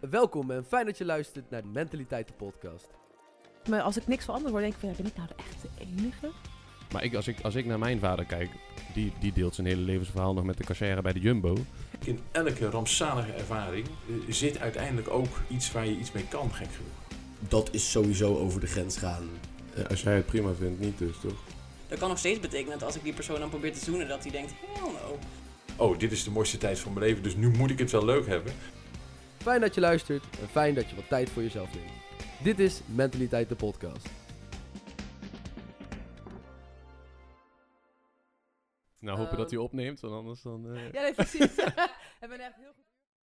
Welkom en fijn dat je luistert naar de Mentaliteiten podcast. Maar als ik niks veranderd word, denk ik van ja, ben ik nou echt de enige? Maar ik, als, ik, als ik naar mijn vader kijk, die, die deelt zijn hele levensverhaal nog met de cashier bij de Jumbo. In elke rampzalige ervaring eh, zit uiteindelijk ook iets waar je iets mee kan, gek genoeg. dat is sowieso over de grens gaan. als jij het prima vindt, niet dus, toch? Dat kan nog steeds betekenen dat als ik die persoon dan probeer te zoenen, dat hij denkt, hell no. Oh, dit is de mooiste tijd van mijn leven, dus nu moet ik het wel leuk hebben. Fijn dat je luistert en fijn dat je wat tijd voor jezelf neemt. Dit is Mentaliteiten podcast. Nou, hopen dat hij opneemt, want anders dan... eh, Ja, nee, precies. ik ben echt heel goed.